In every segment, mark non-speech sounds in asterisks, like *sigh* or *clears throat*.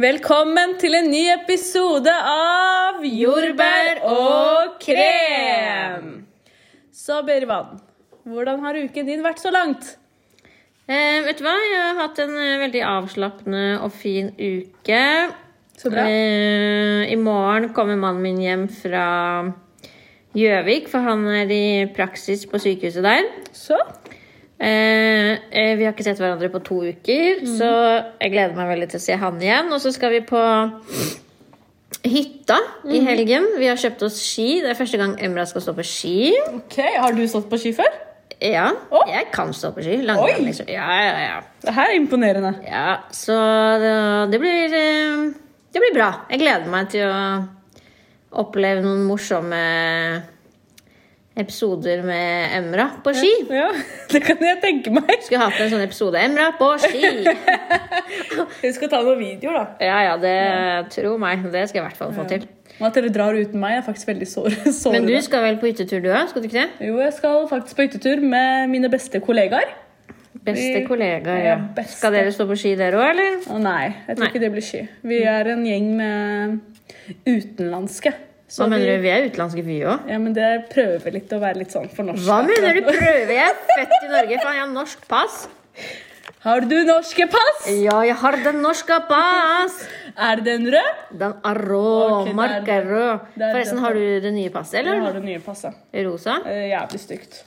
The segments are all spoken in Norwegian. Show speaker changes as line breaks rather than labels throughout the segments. Velkommen til en ny episode av Jordbær og krem! Så, Birvan, hvordan har uken din vært så langt?
Eh, vet du hva? Jeg har hatt en eh, veldig avslappende og fin uke.
Så bra.
Eh, I morgen kommer mannen min hjem fra Gjøvik, for han er i praksis på sykehuset der.
Så?
Eh, eh, vi har ikke sett hverandre på to
Mhm.
uker, så jeg gleder meg veldig til å se han igjen. Og så skal vi på hytta
Mhm.
i helgen. Vi har kjøpt oss ski. Det er første gang Emra skal stå på ski.
Ok, Har du stått på ski før?
Ja,
Å.
jeg kan stå på ski.
Oi.
Langrenn, liksom. Ja, ja, ja.
Det her er imponerende.
Ja, så det, det blir eh, Det blir bra. Jeg gleder meg til å oppleve noen morsomme episoder med Emra på ski.
Ja, *laughs* Det kan jeg tenke meg.
Skulle hatt en sånn episode Emra på *laughs* ski!
Husk å ta noen videoer, da.
Ja ja, det tro meg. Det skal jeg i hvert fall få til.
Og at dere drar uten meg, er faktisk veldig sår. *laughs*
Men du
sårende.
skal vel på hyttetur, du òg? Skal du ikke det?
Jo, jeg skal faktisk på hyttetur med mine beste kollegaer.
Beste
Vi-
kollega,
Ja,
ja.
beste.
Skal dere stå på ski dere òg, eller?
Å, nei, jeg tror
Nei.
ikke det blir sky. Vi er en gjeng med utenlandske.
Hva
Så
mener
vi-
du? Vi er utenlandske, vi òg.
Ja, men det prøver vi litt å være litt sånn for norsk.
Hva mener du? Prøver jeg? er Født i Norge, faen. Jeg har norsk pass.
*laughs* Har du norske pass?
Ja, jeg har den norske pass!
Er det den rød?
Den er rå.
Ok, det er-
Marka er rå.
det er
Forresten,
det.
har du det nye passet,
Jeg
eller?
har det nye passet.
Rosa?
Det er Jævlig stygt.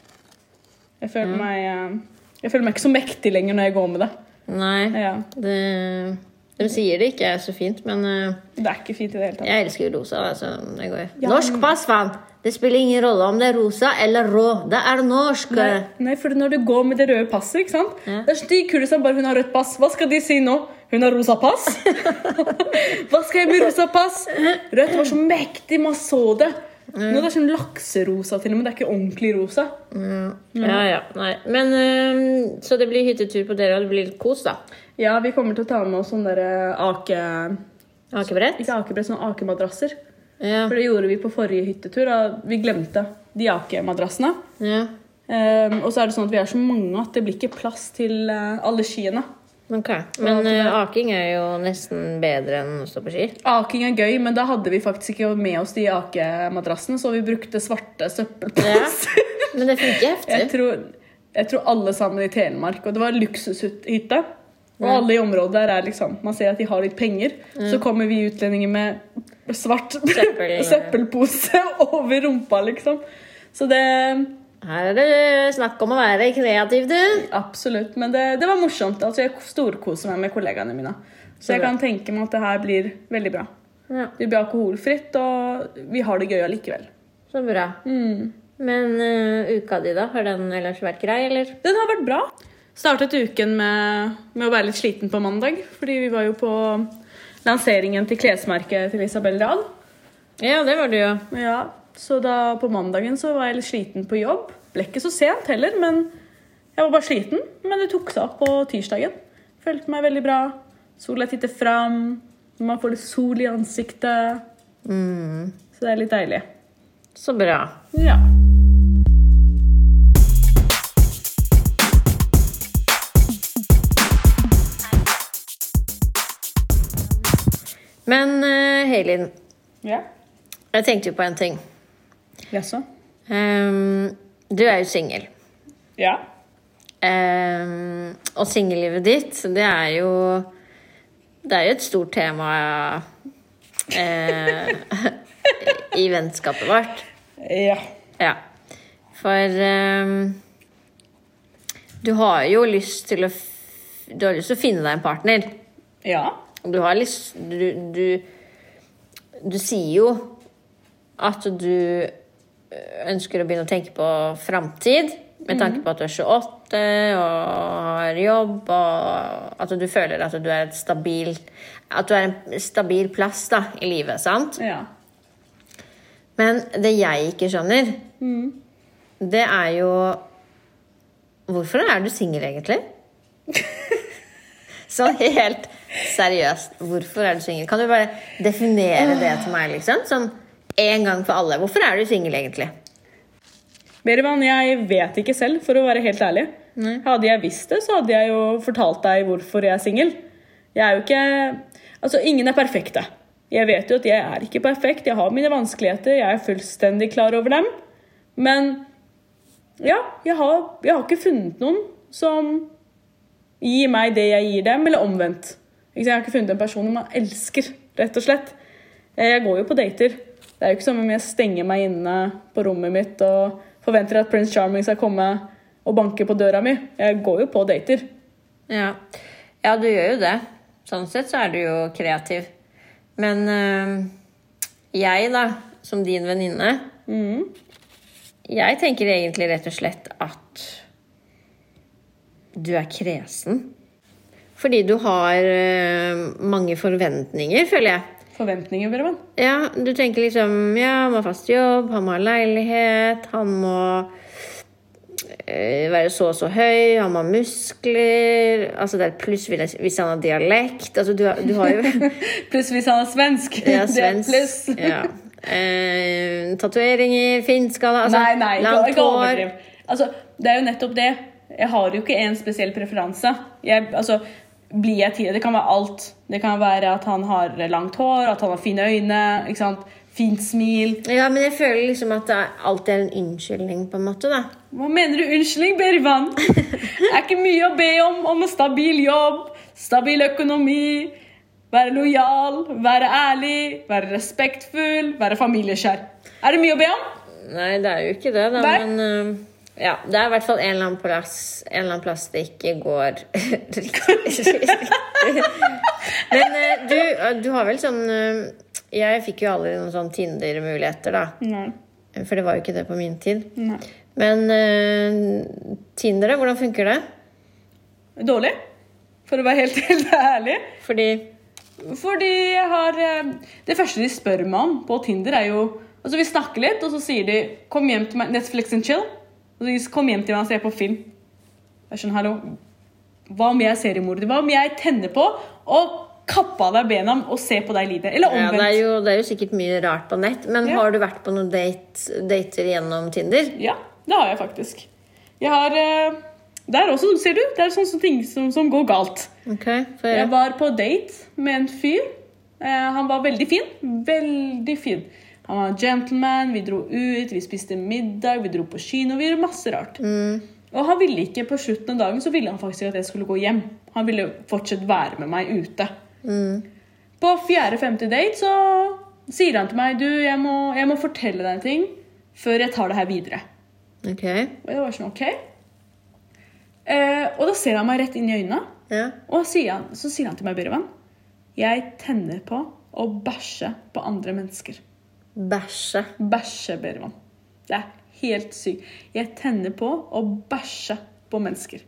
Jeg føler meg eh, Jeg føler meg ikke så mektig lenger når jeg går med det.
Nei.
Ja.
Det, de sier det ikke er så fint, men eh,
Det er ikke fint i det hele tatt.
jeg elsker jo rosa. da, så det går.
Ja,
Norsk pass, faen! Det spiller ingen rolle om det er rosa eller rå. Det er norsk.
Nei, nei, for når du går med det røde passet ikke sant? Det er så de kule som bare 'Hun har rødt pass.' Hva skal de si nå? 'Hun har rosa pass'?
*laughs*
Hva skal jeg med rosa pass? Rødt var så mektig, man så det. Nå er det sånn lakserosa til og med. Det er ikke ordentlig rosa.
Mm. Ja, ja. Nei. Men eh, Så det blir hyttetur på dere, og det blir litt kos, da.
Ja, vi kommer til å ta med oss sånne der eh, ake...
Akebrett?
Ikke akebrett, sånne akemadrasser.
Ja.
For det gjorde vi på forrige hyttetur. Da. Vi glemte de akemadrassene.
ja.
Ehm, og så er det sånn at vi er så mange at det blir ikke plass til eh, alle skiene.
Ok. Men eh, aking er jo nesten bedre enn å stå på ski.
Aking er gøy, men da hadde vi faktisk ikke med oss de akemadrassene, så vi brukte svarte
Ja.
søppelposer. *laughs*
Men det funker heftig.
Jeg, tror, jeg tror alle sammen i Telemark Og det var en luksushytte. Og alle i området der er liksom Man ser at de har litt penger. Så kommer vi utlendinger med svart
Søppel.
*laughs* søppelpose over rumpa, liksom. Så det
Her er det snakk om å være kreativ, du.
Absolutt. Men det, det var morsomt. Altså, jeg storkoser meg med kollegaene mine. Så jeg kan tenke meg at det her blir veldig bra.
Ja,
Det blir alkoholfritt, og vi har det gøy allikevel. Mm.
Så bra. Men eh, uka di, da? Har den ellers vært grei, eller?
Den har vært bra. Startet uken med, med å være litt sliten på mandag, fordi vi var jo på lanseringen til klesmerket til Isabel Dahl.
Ja, det var du jo.
Ja, så da på mandagen så var jeg litt sliten på jobb. Ble ikke så sent heller, men jeg var bare sliten. Men det tok seg opp på tirsdagen. Følte meg veldig bra. Sola titter fram. Man får litt sol i ansiktet. Så det er litt deilig.
Mm, Så bra.
Ja.
Men uh, Helin,
Ja.
jeg tenkte jo på en ting.
Jaså?
Ehm, du er jo singel.
Ja.
Ehm, og singellivet ditt, det er jo Det er jo et stort tema eh, *laughs* i vennskapet vårt.
Ja.
Ja. For ehm, du har jo lyst til å f Du har lyst til å finne deg en partner.
Ja.
Du har lyst Du, du, du sier jo at du eh, ønsker å begynne å tenke på framtid. Med tanke på at du er 28 og har jobb, og at du føler at du er et stabil At du er en stabil plass da, i livet, sant?
Ja.
Men det jeg ikke skjønner, Mm. det er jo Hvorfor er du singel, egentlig? *laughs* sånn helt seriøst, hvorfor er du singel? Kan du bare definere det til meg, liksom? Sånn en gang for alle. Hvorfor er du singel, egentlig?
Berivan, jeg vet ikke selv, for å være helt ærlig. Hadde jeg visst det, så hadde jeg jo fortalt deg hvorfor jeg er singel. Jeg er jo ikke Altså, ingen er perfekte. Jeg vet jo at jeg er ikke perfekt. Jeg har mine vanskeligheter. Jeg er fullstendig klar over dem. Men ja, jeg har, jeg har ikke funnet noen som gir meg det jeg gir dem, eller omvendt. Ikke sant? Jeg har ikke funnet en person man elsker, rett og slett. Eh, Jeg går jo på dater. Det er jo ikke som om jeg stenger meg inne på rommet mitt og forventer at Prince Charming skal komme og banke på døra mi. Jeg går jo på dater.
Ja. ja, du gjør jo det. Sånn sett så er du jo kreativ. Men eh, jeg, da, som din venninne
Mm.
Jeg tenker egentlig rett og slett at du er kresen. Fordi du har eh, mange forventninger, føler jeg.
Forventninger, Brevan.
Ja, du tenker liksom Ja, han må ha fast jobb, han må ha leilighet, han må eh, være så og så høy, han må ha muskler Altså det er et pluss hvis hvis han har dialekt Altså du, har- du har
*laughs*
jo
*laughs* Pluss hvis han er svensk.
ja,
*laughs* Det er pluss.
svensk. Ja. Eh, Tatoveringer, finskala altså,
Nei, nei, ikke,
Langt
ikke
hår.
overdriv. Altså, det er jo nettopp det. Jeg har jo ikke en spesiell preferanse. Jeg, altså, blir jeg tidlig, Det kan være alt. Det kan være at han har langt hår, at han har fine øyne, ikke sant? fint smil.
Ja, men jeg føler liksom at det er- alltid er en unnskyldning, på en måte. da
Hva mener du? Unnskyldning, Bervan. Det er ikke mye å be om om en stabil jobb, stabil økonomi, være lojal, være ærlig, være respektfull, være familieskjær. Er det mye å be om?
Nei, det er jo ikke det, da,
Nei.
men eh, ja, det er i hvert fall en eller annen plass, en eller annen plass det ikke går *laughs* riktig. men eh, du, eh, du har vel sånn eh, Jeg fikk jo aldri noen sånn Tinder-muligheter, da.
Nei.
For det var jo ikke det på min tid.
Nei.
Men uh, Tinder, da, hvordan funker det?
Dårlig, for å være helt, *laughs* helt ærlig.
Fordi
Fordi jeg har eh, Det første de spør meg om på Tinder, er jo Altså Vi snakker litt, og så sier de 'Kom hjem til meg Netflix and chill'. Og så 'Kom hjem til meg og se på film'. Jeg skjønner, hallo Hva om jeg er seriemorder? Hva om jeg tenner på og kappa deg bena og ser på deg lide? Eller
ja, det, er
omvendt.
jo, det er jo sikkert mye rart på nett, men
Ja.
har du vært på noen date, dater gjennom Tinder?
Ja, det har jeg faktisk. Jeg har eh, Det er også, ser du, det er sånne ting som, som går galt.
Ok, får jeg
Jeg
høre.
Eh, var på date med en fyr. Eh, han var veldig fin. Veldig fin. Han var en gentleman, vi dro ut, vi spiste middag, vi dro på kino, vi gjorde masse rart. Og han ville ikke på slutten av dagen så ville han faktisk at jeg skulle gå hjem. Han ville fortsatt være med meg ute.
Mm,
På fjerde-femte date så sier han til meg du, jeg må, jeg må fortelle deg en ting før jeg tar det her videre.
Ok,
Og jeg var sånn, ok. Eh, og da ser han meg rett inn i øynene.
ja.
Og sier han, så sier han til meg, Byrvan, jeg tenner på å bæsje på andre mennesker.
Bæsje.
Bæsje, Byrvan. Det er helt sykt. Jeg tenner på å bæsje på mennesker.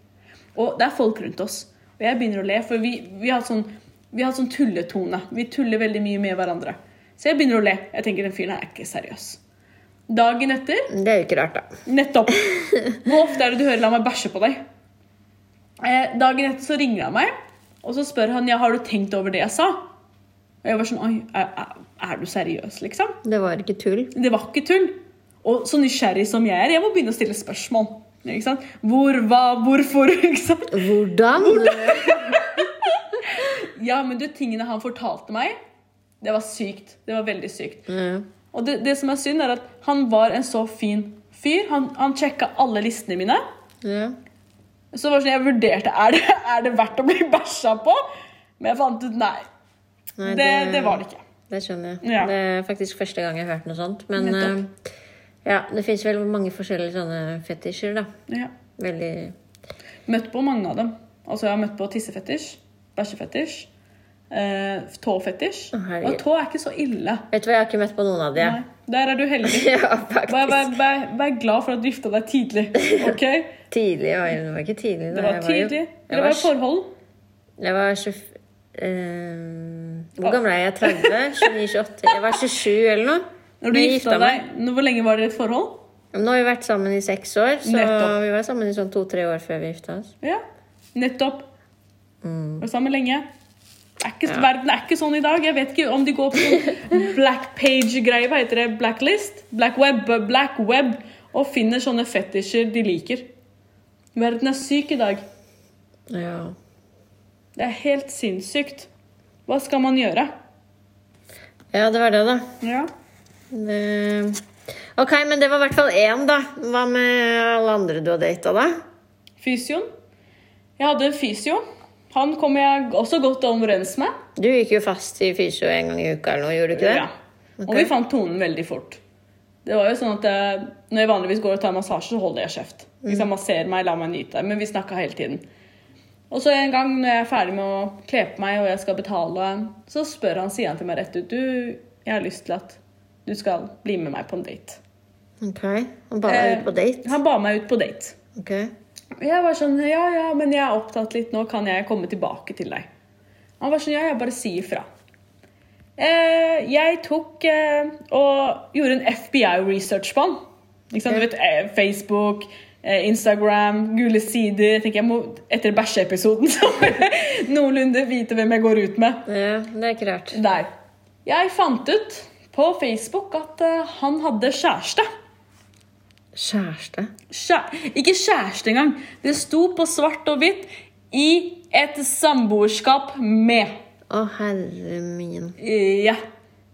Og det er folk rundt oss. Og jeg begynner å le, for vi, vi har sånn, vi har sånn tulletone. Vi tuller veldig mye med hverandre. Så jeg begynner å le. Jeg tenker, den fyren her er ikke seriøs. Dagen etter
Det er jo ikke rart, da.
Nettopp. Hvor ofte er det du hører 'la meg bæsje på deg'? Eh, dagen etter så ringer han meg, og så spør han ja, har du tenkt over det jeg sa. Og jeg var sånn Oi, er, er- er du seriøs, liksom?
Det var ikke tull.
Det var ikke tull. Og så nysgjerrig som jeg er, jeg må begynne å stille spørsmål. Ikke sant? Hvor, hva, hvorfor? *laughs* Ikke sant?
Hvordan?
Ja, men du, tingene han fortalte meg, det var sykt. Det var veldig sykt.
Ja.
Og det, det som er synd, er at han var en så fin fyr. Han, han sjekka alle listene mine.
Ja.
Så var det sånn, jeg vurderte er det, er det verdt å bli bæsja på, men jeg fant ut nei.
Nei,
det, det var det ikke.
Det skjønner jeg.
Ja.
Det er faktisk første gang jeg har hørt noe sånt. Men
Nettopp.
eh, ja, det fins vel mange forskjellige sånne fetisjer, da.
Ja.
Veldig
Møtt på mange av dem. Altså, jeg har møtt på tissefetisj, bæsjefetisj, eh, tåfetisj.
Å, herregud.
Og tå er ikke så ille.
Vet du hva, jeg har ikke møtt på noen av de.
Nei,
jeg.
der er du heldig.
*laughs* ja,
Vær,
faktisk.
vær, vær, vær glad for at du gifta deg
*laughs*
tidlig. ok?
Tidlig var jeg Det var ikke tidlig. da.
Det var
Jeg jo-
tidlig.
jeg
Det var
var,
forhold.
jeg var 20, eh, Hvor gammel er jeg? 30?
*laughs*
29-28? Jeg var 27 eller noe.
Når du
Jeg
gifta deg, nå- Hvor lenge var dere i et forhold?
Nå har vi vært sammen i seks år, så
Nettopp.
vi var sammen i sånn to-tre år før vi gifta oss. Mm.
Ja, nettopp. Var sammen lenge. Det Er ikke, Verden er ikke sånn i dag. Jeg vet ikke om de går på sånn black page-greier. Hva heter det? Blacklist? Black web? Black web. Og finner sånne fetisjer de liker. Verden er syk i dag.
Ja.
Det er helt sinnssykt. Hva skal man gjøre?
Ja, det var det, da.
Ja.
Det... Ok, men det var i hvert fall én, da. Hva med alle andre du har data, da?
Fysioen. Jeg hadde en fysio. Han kom jeg også godt overens med.
Du gikk jo fast i fysio en gang i uka eller noe, gjorde du ikke det?
Ja. Og vi fant tonen veldig fort. Det var jo sånn at jeg, Når jeg vanligvis går og tar massasje, så holder jeg kjeft. Hvis
Mm.
jeg masserer meg, lar meg nyte. Men vi snakka hele tiden. Og så en gang når jeg er ferdig med å kle på meg og jeg skal betale, så spør han, sier han til meg rett ut Du, jeg har lyst til at du skal bli med meg på en date.
Ok, Han ba deg ut på
Eh,
date?
Han ba meg ut på date.
Ok.
Og Jeg var sånn Ja, ja, men jeg er opptatt litt nå. Kan jeg komme tilbake til deg? Han var sånn Ja, jeg bare sier fra. Eh, jeg tok eh, og gjorde en FBI-research på han. Ikke sant? Du vet, eh, Facebook, eh, Instagram, gule sider. Jeg tenker jeg må etter bæsjeepisoden *laughs* så må jeg noenlunde vite hvem jeg går ut med.
Ja, det er ikke rart.
Der. Jeg fant ut på Facebook at eh, han hadde kjæreste.
Kjæreste?
Kjæ ikke kjæreste engang. Det sto på svart og hvitt 'i et samboerskap med'.
Å, herre min.
Ja.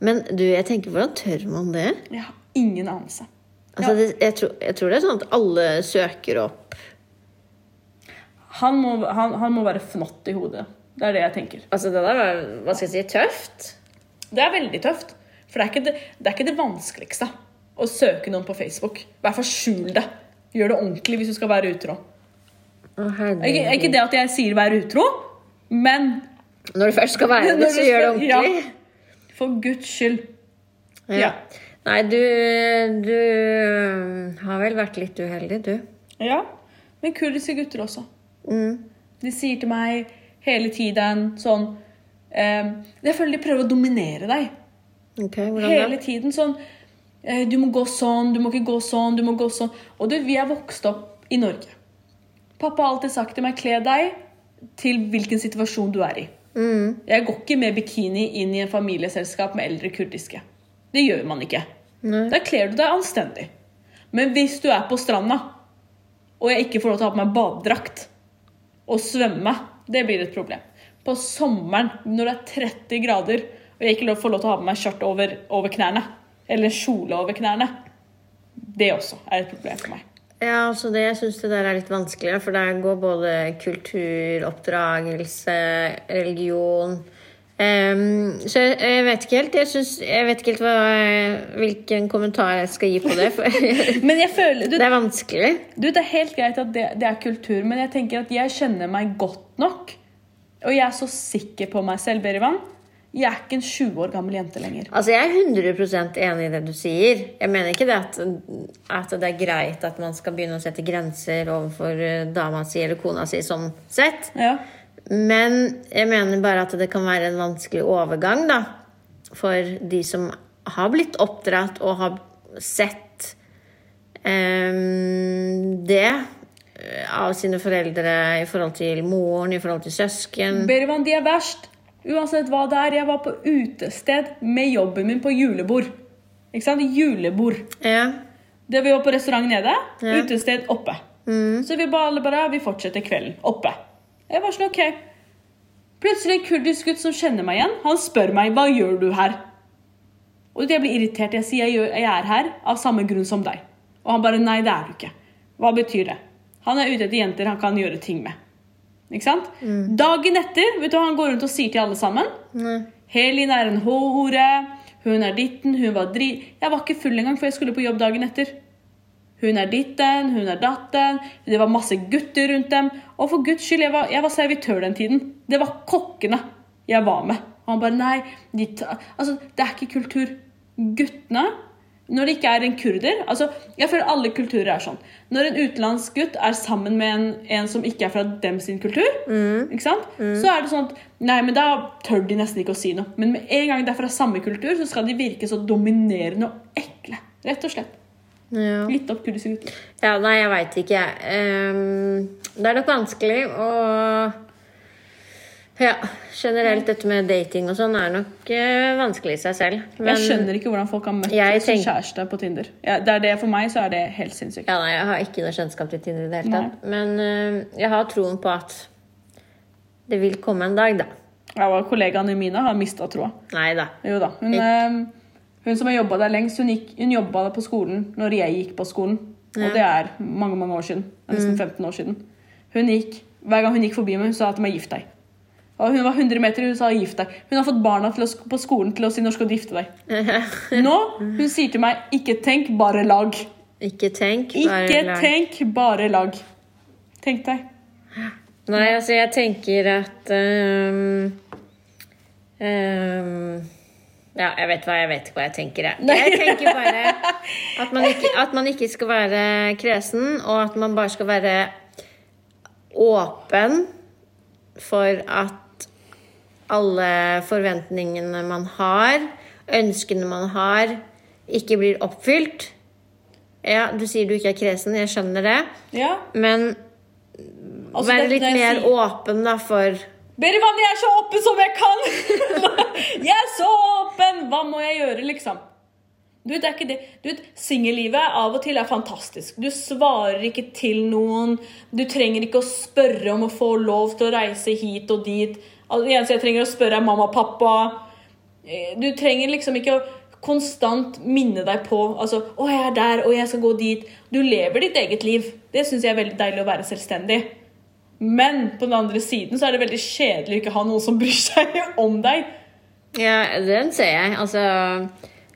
Men du, jeg tenker, hvordan tør man det?
Jeg har ingen anelse.
Altså, det jeg, tror, jeg tror det er sånn at alle søker opp
Han må, han, han må være fnått i hodet. Det er det jeg tenker.
Altså, det der var, hva skal jeg si, tøft.
Det er veldig tøft. For det er ikke det, det, er ikke det vanskeligste å søke noen på Facebook. I hvert fall skjul det. Gjør det ordentlig hvis du skal være utro.
Å, herre
Ikke, ikke det at jeg sier 'være utro', men
Når du først skal
*laughs*
være
Når
det,
du
så gjør det
skal- ja.
ordentlig.
for guds skyld.
Ja.
Ja.
Nei, du, du har vel vært litt uheldig, du.
Ja, men kurdiske gutter også.
Mm.
De sier til meg hele tiden sånn eh, Jeg føler de prøver å dominere deg.
Ok, hvordan
Hele
da?
tiden sånn eh, Du må gå sånn, du må ikke gå sånn, du må gå sånn. Og du, vi er vokst opp i Norge. Pappa har alltid sagt til meg kle deg til hvilken situasjon du er i.
Mm.
Jeg går ikke med bikini inn i en familieselskap med eldre kurdiske. Det gjør man ikke.
Nei.
Da kler du deg anstendig. Men hvis du er på stranda, og jeg ikke får lov til å ha på meg badedrakt og svømme, det blir et problem. På sommeren, når det er 30 grader, og jeg ikke lov- får lov til å ha på meg skjørt over, over knærne, eller kjole over knærne, det også er et problem for meg.
Ja, altså det, jeg syns det der er litt vanskelig, for der går både kultur, oppdragelse, religion Ehm, Så jeg, jeg vet ikke helt. Jeg, synes, jeg vet ikke helt hva, hvilken kommentar jeg skal gi på det. For det
Men jeg føler, du,
er vanskelig.
Du, Det er helt greit at det, det er kultur, men jeg tenker at jeg kjenner meg godt nok. Og jeg er så sikker på meg selv, Berivan. Jeg er ikke en 20 år gammel jente lenger.
Altså, Jeg er 100 enig i det du sier. Jeg mener ikke det at, at det er greit at man skal begynne å sette grenser overfor eh, dama si eller kona si sånn sett.
Ja.
Men jeg mener bare at det kan være en vanskelig overgang da, for de som har blitt oppdratt og har sett eh, det eh, av sine foreldre i forhold til moren, i forhold til søsken.
Berivan, de er verst. Uansett hva det er. Jeg var på utested med jobben min på julebord. Ikke sant? Julebord.
Ja.
Det Vi var på restaurant nede, utested oppe.
mm,
Så vi bare, alle bare vi fortsetter kvelden oppe. Jeg var sånn, ok. Plutselig en kurdisk gutt som kjenner meg igjen, han spør meg hva gjør du her. Og jeg blir irritert. Jeg sier jeg, gjør, jeg er her av samme grunn som deg. Og han bare nei, det er du ikke. Hva betyr det? Han er ute etter jenter han kan gjøre ting med. Ikke sant? Dagen etter vet du hva han går rundt og sier til alle sammen? Helin er en H-ore. Hun er ditten, hun var dri... Jeg var ikke full engang, for jeg skulle på jobb dagen etter. Hun er ditten, hun er datten. Det var masse gutter rundt dem. Og for guds skyld, jeg var, jeg var servitør den tiden. Det var kokkene jeg var med. Og han bare nei, de ta, altså, det er ikke kultur. Guttene Når det ikke er en kurder altså, Jeg føler alle kulturer er sånn. Når en utenlandsk gutt er sammen med en, en som ikke er fra dem sin kultur, ikke sant? så er det sånn at Nei, men da tør de nesten ikke å si noe. Men med en gang det er fra samme kultur, så skal de virke så dominerende og ekle. Rett og slett.
ja.
Litt opp kurdiske gutter.
Ja, nei, jeg veit ikke, jeg. Ehm, det er nok vanskelig å Ja, generelt dette med dating og sånn er nok eh, vanskelig i seg selv. Men
jeg skjønner ikke hvordan folk har møtt
Jeg
sin
tenk-
kjæreste på Tinder. Ja, det er det, for meg så er det helt sinnssykt.
ja, nei, jeg har ikke noe kjennskap til Tinder i det hele tatt. Men eh, jeg har troen på at det vil komme en dag, da.
Ja, og kollegaene mine har mista troa.
Nei da. *laughs*
Jo da. Hun, eh, hun som har jobba der lengst, hun, gikk- hun jobba på skolen når jeg gikk på skolen. Og det er mange mange år siden. Det er
Mm.
Nesten 15 år siden. Hun gikk, Hver gang hun gikk forbi meg, hun sa at hun må gifte deg. Og hun var 100 meter, hun sa gift deg. Hun har fått barna til å, sk- på skolen til å si når skal du gifte deg. Nå hun sier til meg ikke tenk, bare lag.
Ikke tenk. bare
Ikke
lag.
tenk, bare lag. Tenk deg.
Nei, altså, jeg tenker at ehm, ehm, Ja, jeg vet hva jeg vet ikke hva jeg tenker, jeg. Jeg tenker bare at man, ikke, at man ikke skal være kresen, og at man bare skal være åpen for at alle forventningene man har, ønskene man har, ikke blir oppfylt. Ja, du sier du ikke er kresen, jeg skjønner det,
Ja.
men
altså,
være
dette
litt
jeg
mer
sier-
åpen da for
Berivan, jeg er så åpen som jeg kan! *laughs* jeg er så åpen! Hva må jeg gjøre, liksom? Du vet, det er ikke det. Du vet, Singellivet av og til er fantastisk. Du svarer ikke til noen. Du trenger ikke å spørre om å få lov til å reise hit og dit. Altså, Det eneste jeg trenger å spørre, er mamma og pappa. Eh, Du trenger liksom ikke å konstant minne deg på altså, 'Å, jeg er der, og jeg skal gå dit.' Du lever ditt eget liv. Det syns jeg er veldig deilig å være selvstendig. Men på den andre siden så er det veldig kjedelig å ikke ha noen som bryr seg *laughs* om deg.
Ja, den ser jeg. Altså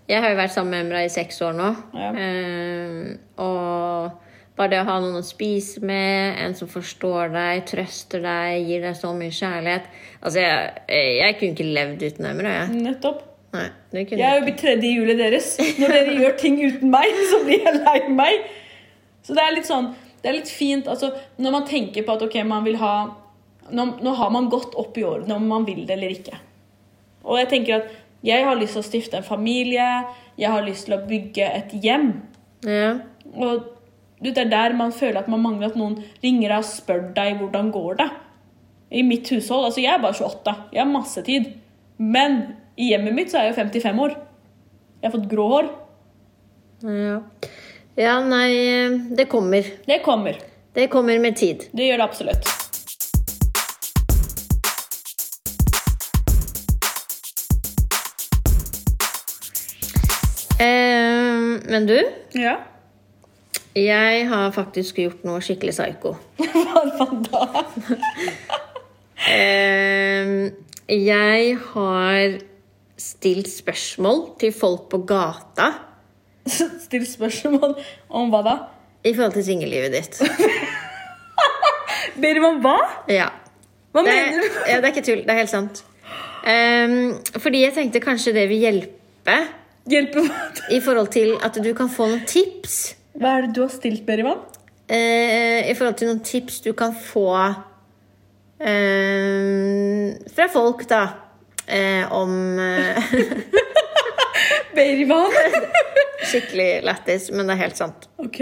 Jeg har jo vært sammen med Emra i seks år nå.
Ja.
Eh, og bare det å ha noen å spise med, en som forstår deg, trøster deg, gir deg så mye kjærlighet Altså, jeg, jeg kunne ikke levd uten Emra, jeg.
Nettopp.
Nei, det kunne
Jeg er jo blitt tredje i hjulet deres. Når dere gjør ting uten meg, så blir jeg lei meg. Så det er litt sånn Det er litt fint altså, når man tenker på at ok, man vil ha Nå, nå har man gått opp i årene om man vil det eller ikke. Og jeg tenker at jeg har lyst til å stifte en familie. Jeg har lyst til å bygge et hjem.
ja.
Og du, det er der man føler at man mangler at noen ringer deg og spør deg hvordan går det. I mitt hushold, altså jeg er bare 28, jeg har masse tid. Men i hjemmet mitt så er jeg jo 55 år. Jeg har fått grå hår.
ja. Ja, nei Det kommer.
Det kommer.
Det kommer med tid.
Det gjør det absolutt.
Eh, men du,
Ja.
jeg har faktisk gjort noe skikkelig psyko.
*laughs* Hva faen da? *laughs*
Ehm, jeg har stilt spørsmål til folk på gata
Still spørsmål om hva da?
i forhold til singellivet
*laughs*
ditt.
Ber om hva?
Ja.
Hva
Det,
mener du?
ja, det er ikke tull. Det er helt sant. Ehm, fordi jeg tenkte kanskje det vil hjelpe
Hjelpe hva?
i forhold til at du kan få noen tips.
Hva er det du har stilt, Berivan?
eh, I forhold til noen tips du kan få ehm, fra folk, da. eh, om eh, *laughs*
Berivan?
Skikkelig lættis, men det er helt sant.
*laughs* Ok.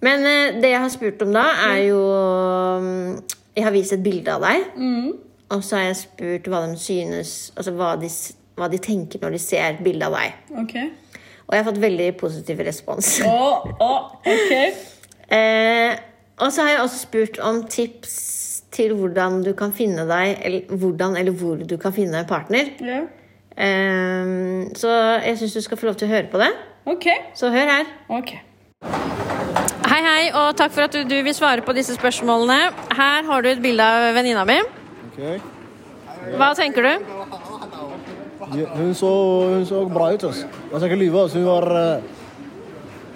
Men eh, det jeg har spurt om da, er jo mm, Jeg har vist et bilde av deg. Og så har jeg spurt hva de synes Altså hva de, s- hva de tenker når de ser et bilde av deg.
Ok.
Og jeg har fått veldig positiv respons.
Å, å, ok.
Eh, og så har jeg også spurt om tips til hvordan du kan finne deg, eller hvordan eller hvor du kan finne en partner.
Ja.
Eh, så jeg syns du skal få lov til å høre på det.
Ok.
Så hør her.
Ok.
Hei, hei, og takk for at du, du vil svare på disse spørsmålene. Her har du et bilde av venninna mi.
Ok.
Hva tenker du?
Ja, Hun så, hun så bra ut. Altså. Jeg skal ikke lyve. Altså. Hun var eh,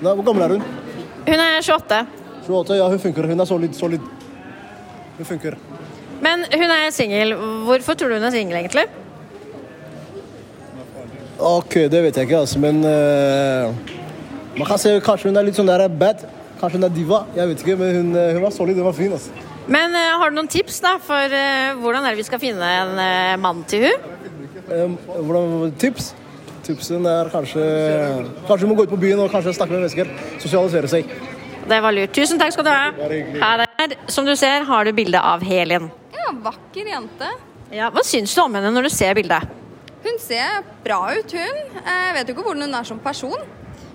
Nei, Hvor gammel er hun?
Hun er 28,
28? Ja, hun funker. Hun er solid. solid. Hun funker.
men hun er singel. Hvorfor tror du hun er singel, egentlig?
OK, det vet jeg ikke, altså, men eh, Man kan se kanskje hun er litt sånn der bad. Kanskje hun er diva. Jeg vet ikke, men hun, eh, hun var solid. Hun var fin. altså.
Men eh, har du noen tips da, for eh, hvordan er det vi skal finne en eh, mann til hun?
Em, hvordan, tips? Tipsen er kanskje Kanskje hun må gå ut på byen og kanskje snakke med mennesker. Sosialisere seg.
Det var lurt. Tusen takk skal du ha. Her er, som du ser, har du bilde av Helen.
Ja, vakker jente.
Ja, hva syns du om henne når du ser bildet?
Hun ser bra ut, hun. Jeg vet jo ikke hvordan hun er som person.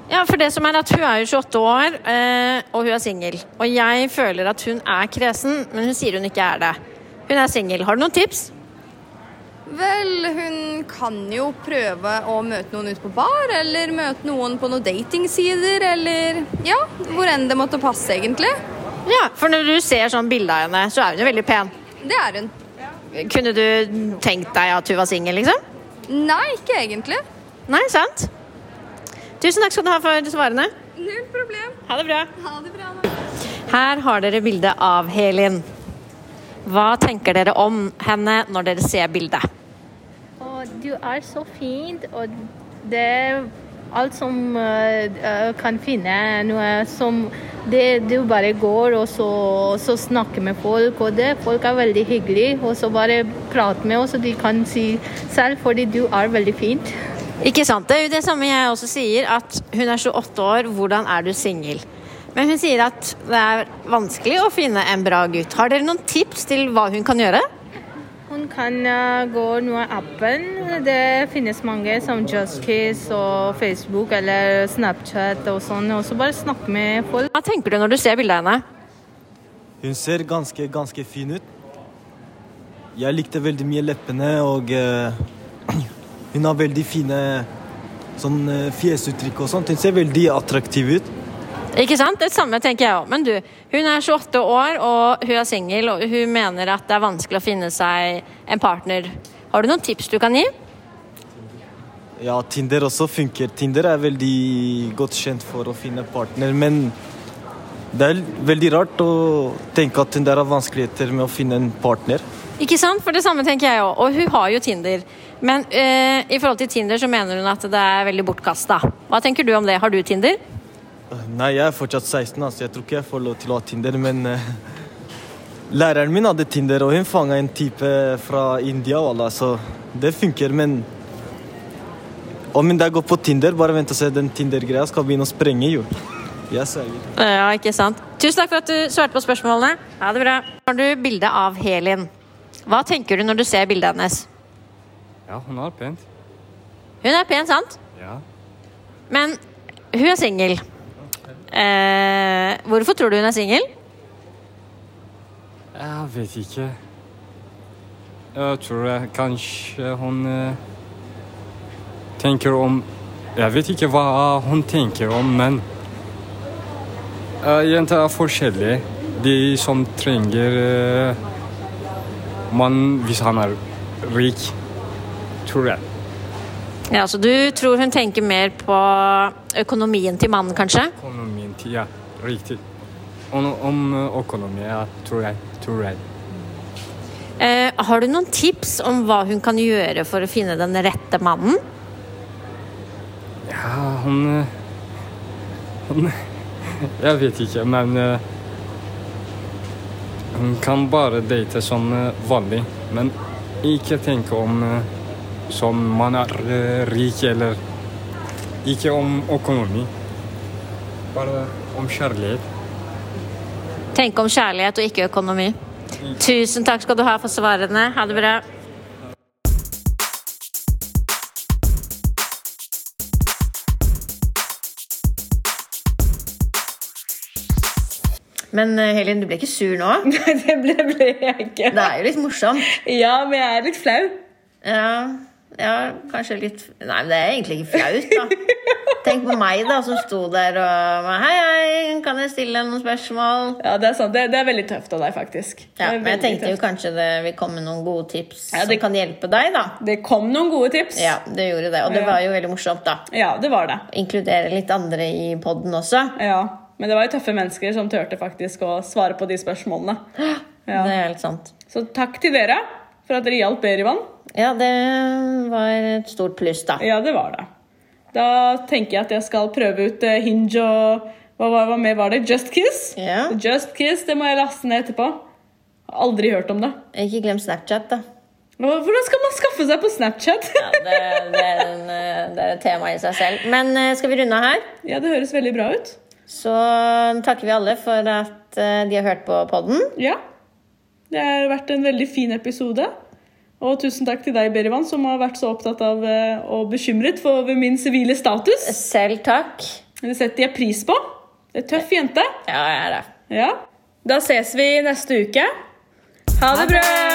Ja, for det som er at Hun er jo 28 år, eh, og hun er singel. Og jeg føler at hun er kresen, men hun sier hun ikke er det. Hun er singel. Har du noen tips?
Vel, hun kan jo prøve å møte noen ute på bar, eller møte noen på noen datingsider, eller ja, hvor enn det måtte passe, egentlig.
Ja, For når du ser sånn bilde av henne, så er hun jo veldig pen.
Det er hun.
Kunne du tenkt deg at hun var singel, liksom?
Nei, ikke egentlig.
Nei, sant? Tusen takk skal du ha for svarene.
Null problem.
Ha det bra.
Ha det bra. nå.
Her har dere bilde av Helin. Hva tenker dere om henne når dere ser bildet?
Og du er så fin, og det er alt som eh, eh, kan finne noe som det, Du bare går og så, så snakker med folk, og det, folk er veldig hyggelige. Og så bare prat med oss, og de kan si selv, fordi du er veldig fint.
Ikke sant? Det er jo det samme jeg også sier, at hun er 28 år, hvordan er du singel? Men hun sier at det er vanskelig å finne en bra gutt. Har dere noen tips til hva hun kan gjøre?
Hun kan eh, gå noe appen. Det finnes mange som JustKiss og Facebook eller Snapchat og sånn. Og så bare snakke med folk.
Hva tenker du når du ser bildet av henne?
Hun ser ganske, ganske fin ut. Jeg likte veldig mye leppene, og eh, *clears throat* hun har veldig fine sånn, eh, fjesuttrykk og sånt. Hun ser veldig attraktiv ut.
Ikke sant? Det samme tenker jeg òg. Men du, hun er 28 år og hun er singel, og hun mener at det er vanskelig å finne seg en partner. Har du noen tips du kan gi?
Ja, Tinder også funker. Tinder er veldig godt kjent for å finne partner, men det er veldig rart å tenke at hun der har vanskeligheter med å finne en partner.
Ikke sant? For det samme tenker jeg òg. Og hun har jo Tinder. Men eh, i forhold til Tinder så mener hun at det er veldig bortkasta. Hva tenker du om det? Har du Tinder?
Nei, jeg er fortsatt 16, altså. Jeg tror ikke jeg får lov til å ha Tinder, men eh, Læreren min hadde Tinder, og hun fanga en type fra India, wallah, så det funker, men Om jeg går på Tinder, bare vent og se. Den Tinder-greia skal begynne å sprenge, jo. Jeg sverger.
Ja, ikke sant. Tusen takk for at du svarte på spørsmålene. Ha det bra. Har du bilde av Helin? Hva tenker du når du ser bildet hennes?
Ja, hun har pent.
Hun er pen, sant?
Ja.
Men hun er singel. Eh, hvorfor tror du hun er singel?
Jeg vet ikke. Jeg tror jeg, kanskje hun eh, tenker om Jeg vet ikke hva hun tenker om, men eh, Jenter er forskjellige. De som trenger uh, mann hvis han er rik, tror jeg.
Ja, så Du tror hun tenker mer på økonomien til mannen, kanskje?
Økonomien til Ja, riktig. Om, om eh, økonomi, ja, tror jeg. Tror jeg.
Eh, har du noen tips om hva hun kan gjøre for å finne den rette mannen?
Ja, han eh, Han *laughs* Jeg vet ikke, men eh, Hun kan bare date som eh, vanlig, men ikke tenke om eh, som man er eh, rik eller Ikke om økonomi. Bare om kjærlighet.
Tenke om kjærlighet og ikke økonomi. Tusen takk skal du ha for svarene. Ha det bra. Men eh, Helin, du ble ikke sur nå?
*laughs* Nei, det ble, ble jeg ikke.
Det er jo litt morsomt.
Ja, men jeg er litt flau.
Ja, ja, kanskje litt Nei, men det er egentlig ikke flaut, da. Tenk på meg, da, som sto der og Hei, hei, kan jeg stille deg noen spørsmål?
Ja, Det er sant. Det, det er veldig tøft av deg, faktisk.
Ja,
Det er
men jeg
veldig
tenkte jo
tøft.
kanskje det vil komme noen gode tips
Ja, det-
som kan hjelpe deg, da.
Det kom noen gode tips.
Ja, det gjorde det. Og det
Ja.
var jo veldig morsomt, da.
Ja, det var det.
Inkludere litt andre i poden også.
Ja, Men det var jo tøffe mennesker som turte faktisk å svare på de
*gasps*
spørsmålene. Ja.
Det er helt sant.
Så takk til dere for at dere hjalp Berivan.
Ja, det var et stort pluss, da.
Ja, det var det. Da tenker jeg at jeg skal prøve ut eh, Hinge og hva, hva, hva mer var det? Just Kiss?
Ja.
Just Kiss, Det må jeg laste ned etterpå. Har Aldri hørt om det.
Ikke glem Snapchat, da.
Hva- Hvordan skal man skaffe seg på Snapchat?
Ja, det, det, er en, eh, det er et tema i seg selv. Men eh, skal vi runde av her?
*laughs* ja, det høres veldig bra ut.
Så takker vi alle for at eh, de har hørt på podden.
Ja. Det har vært en veldig fin episode. Og tusen takk til deg, Berivan, som har vært så opptatt av eh, og bekymret for over min sivile status.
Selv takk.
Det setter jeg pris på. Det er tøff jente.
Ja, jeg er det.
Ja. Da ses vi neste uke. Ha det bra!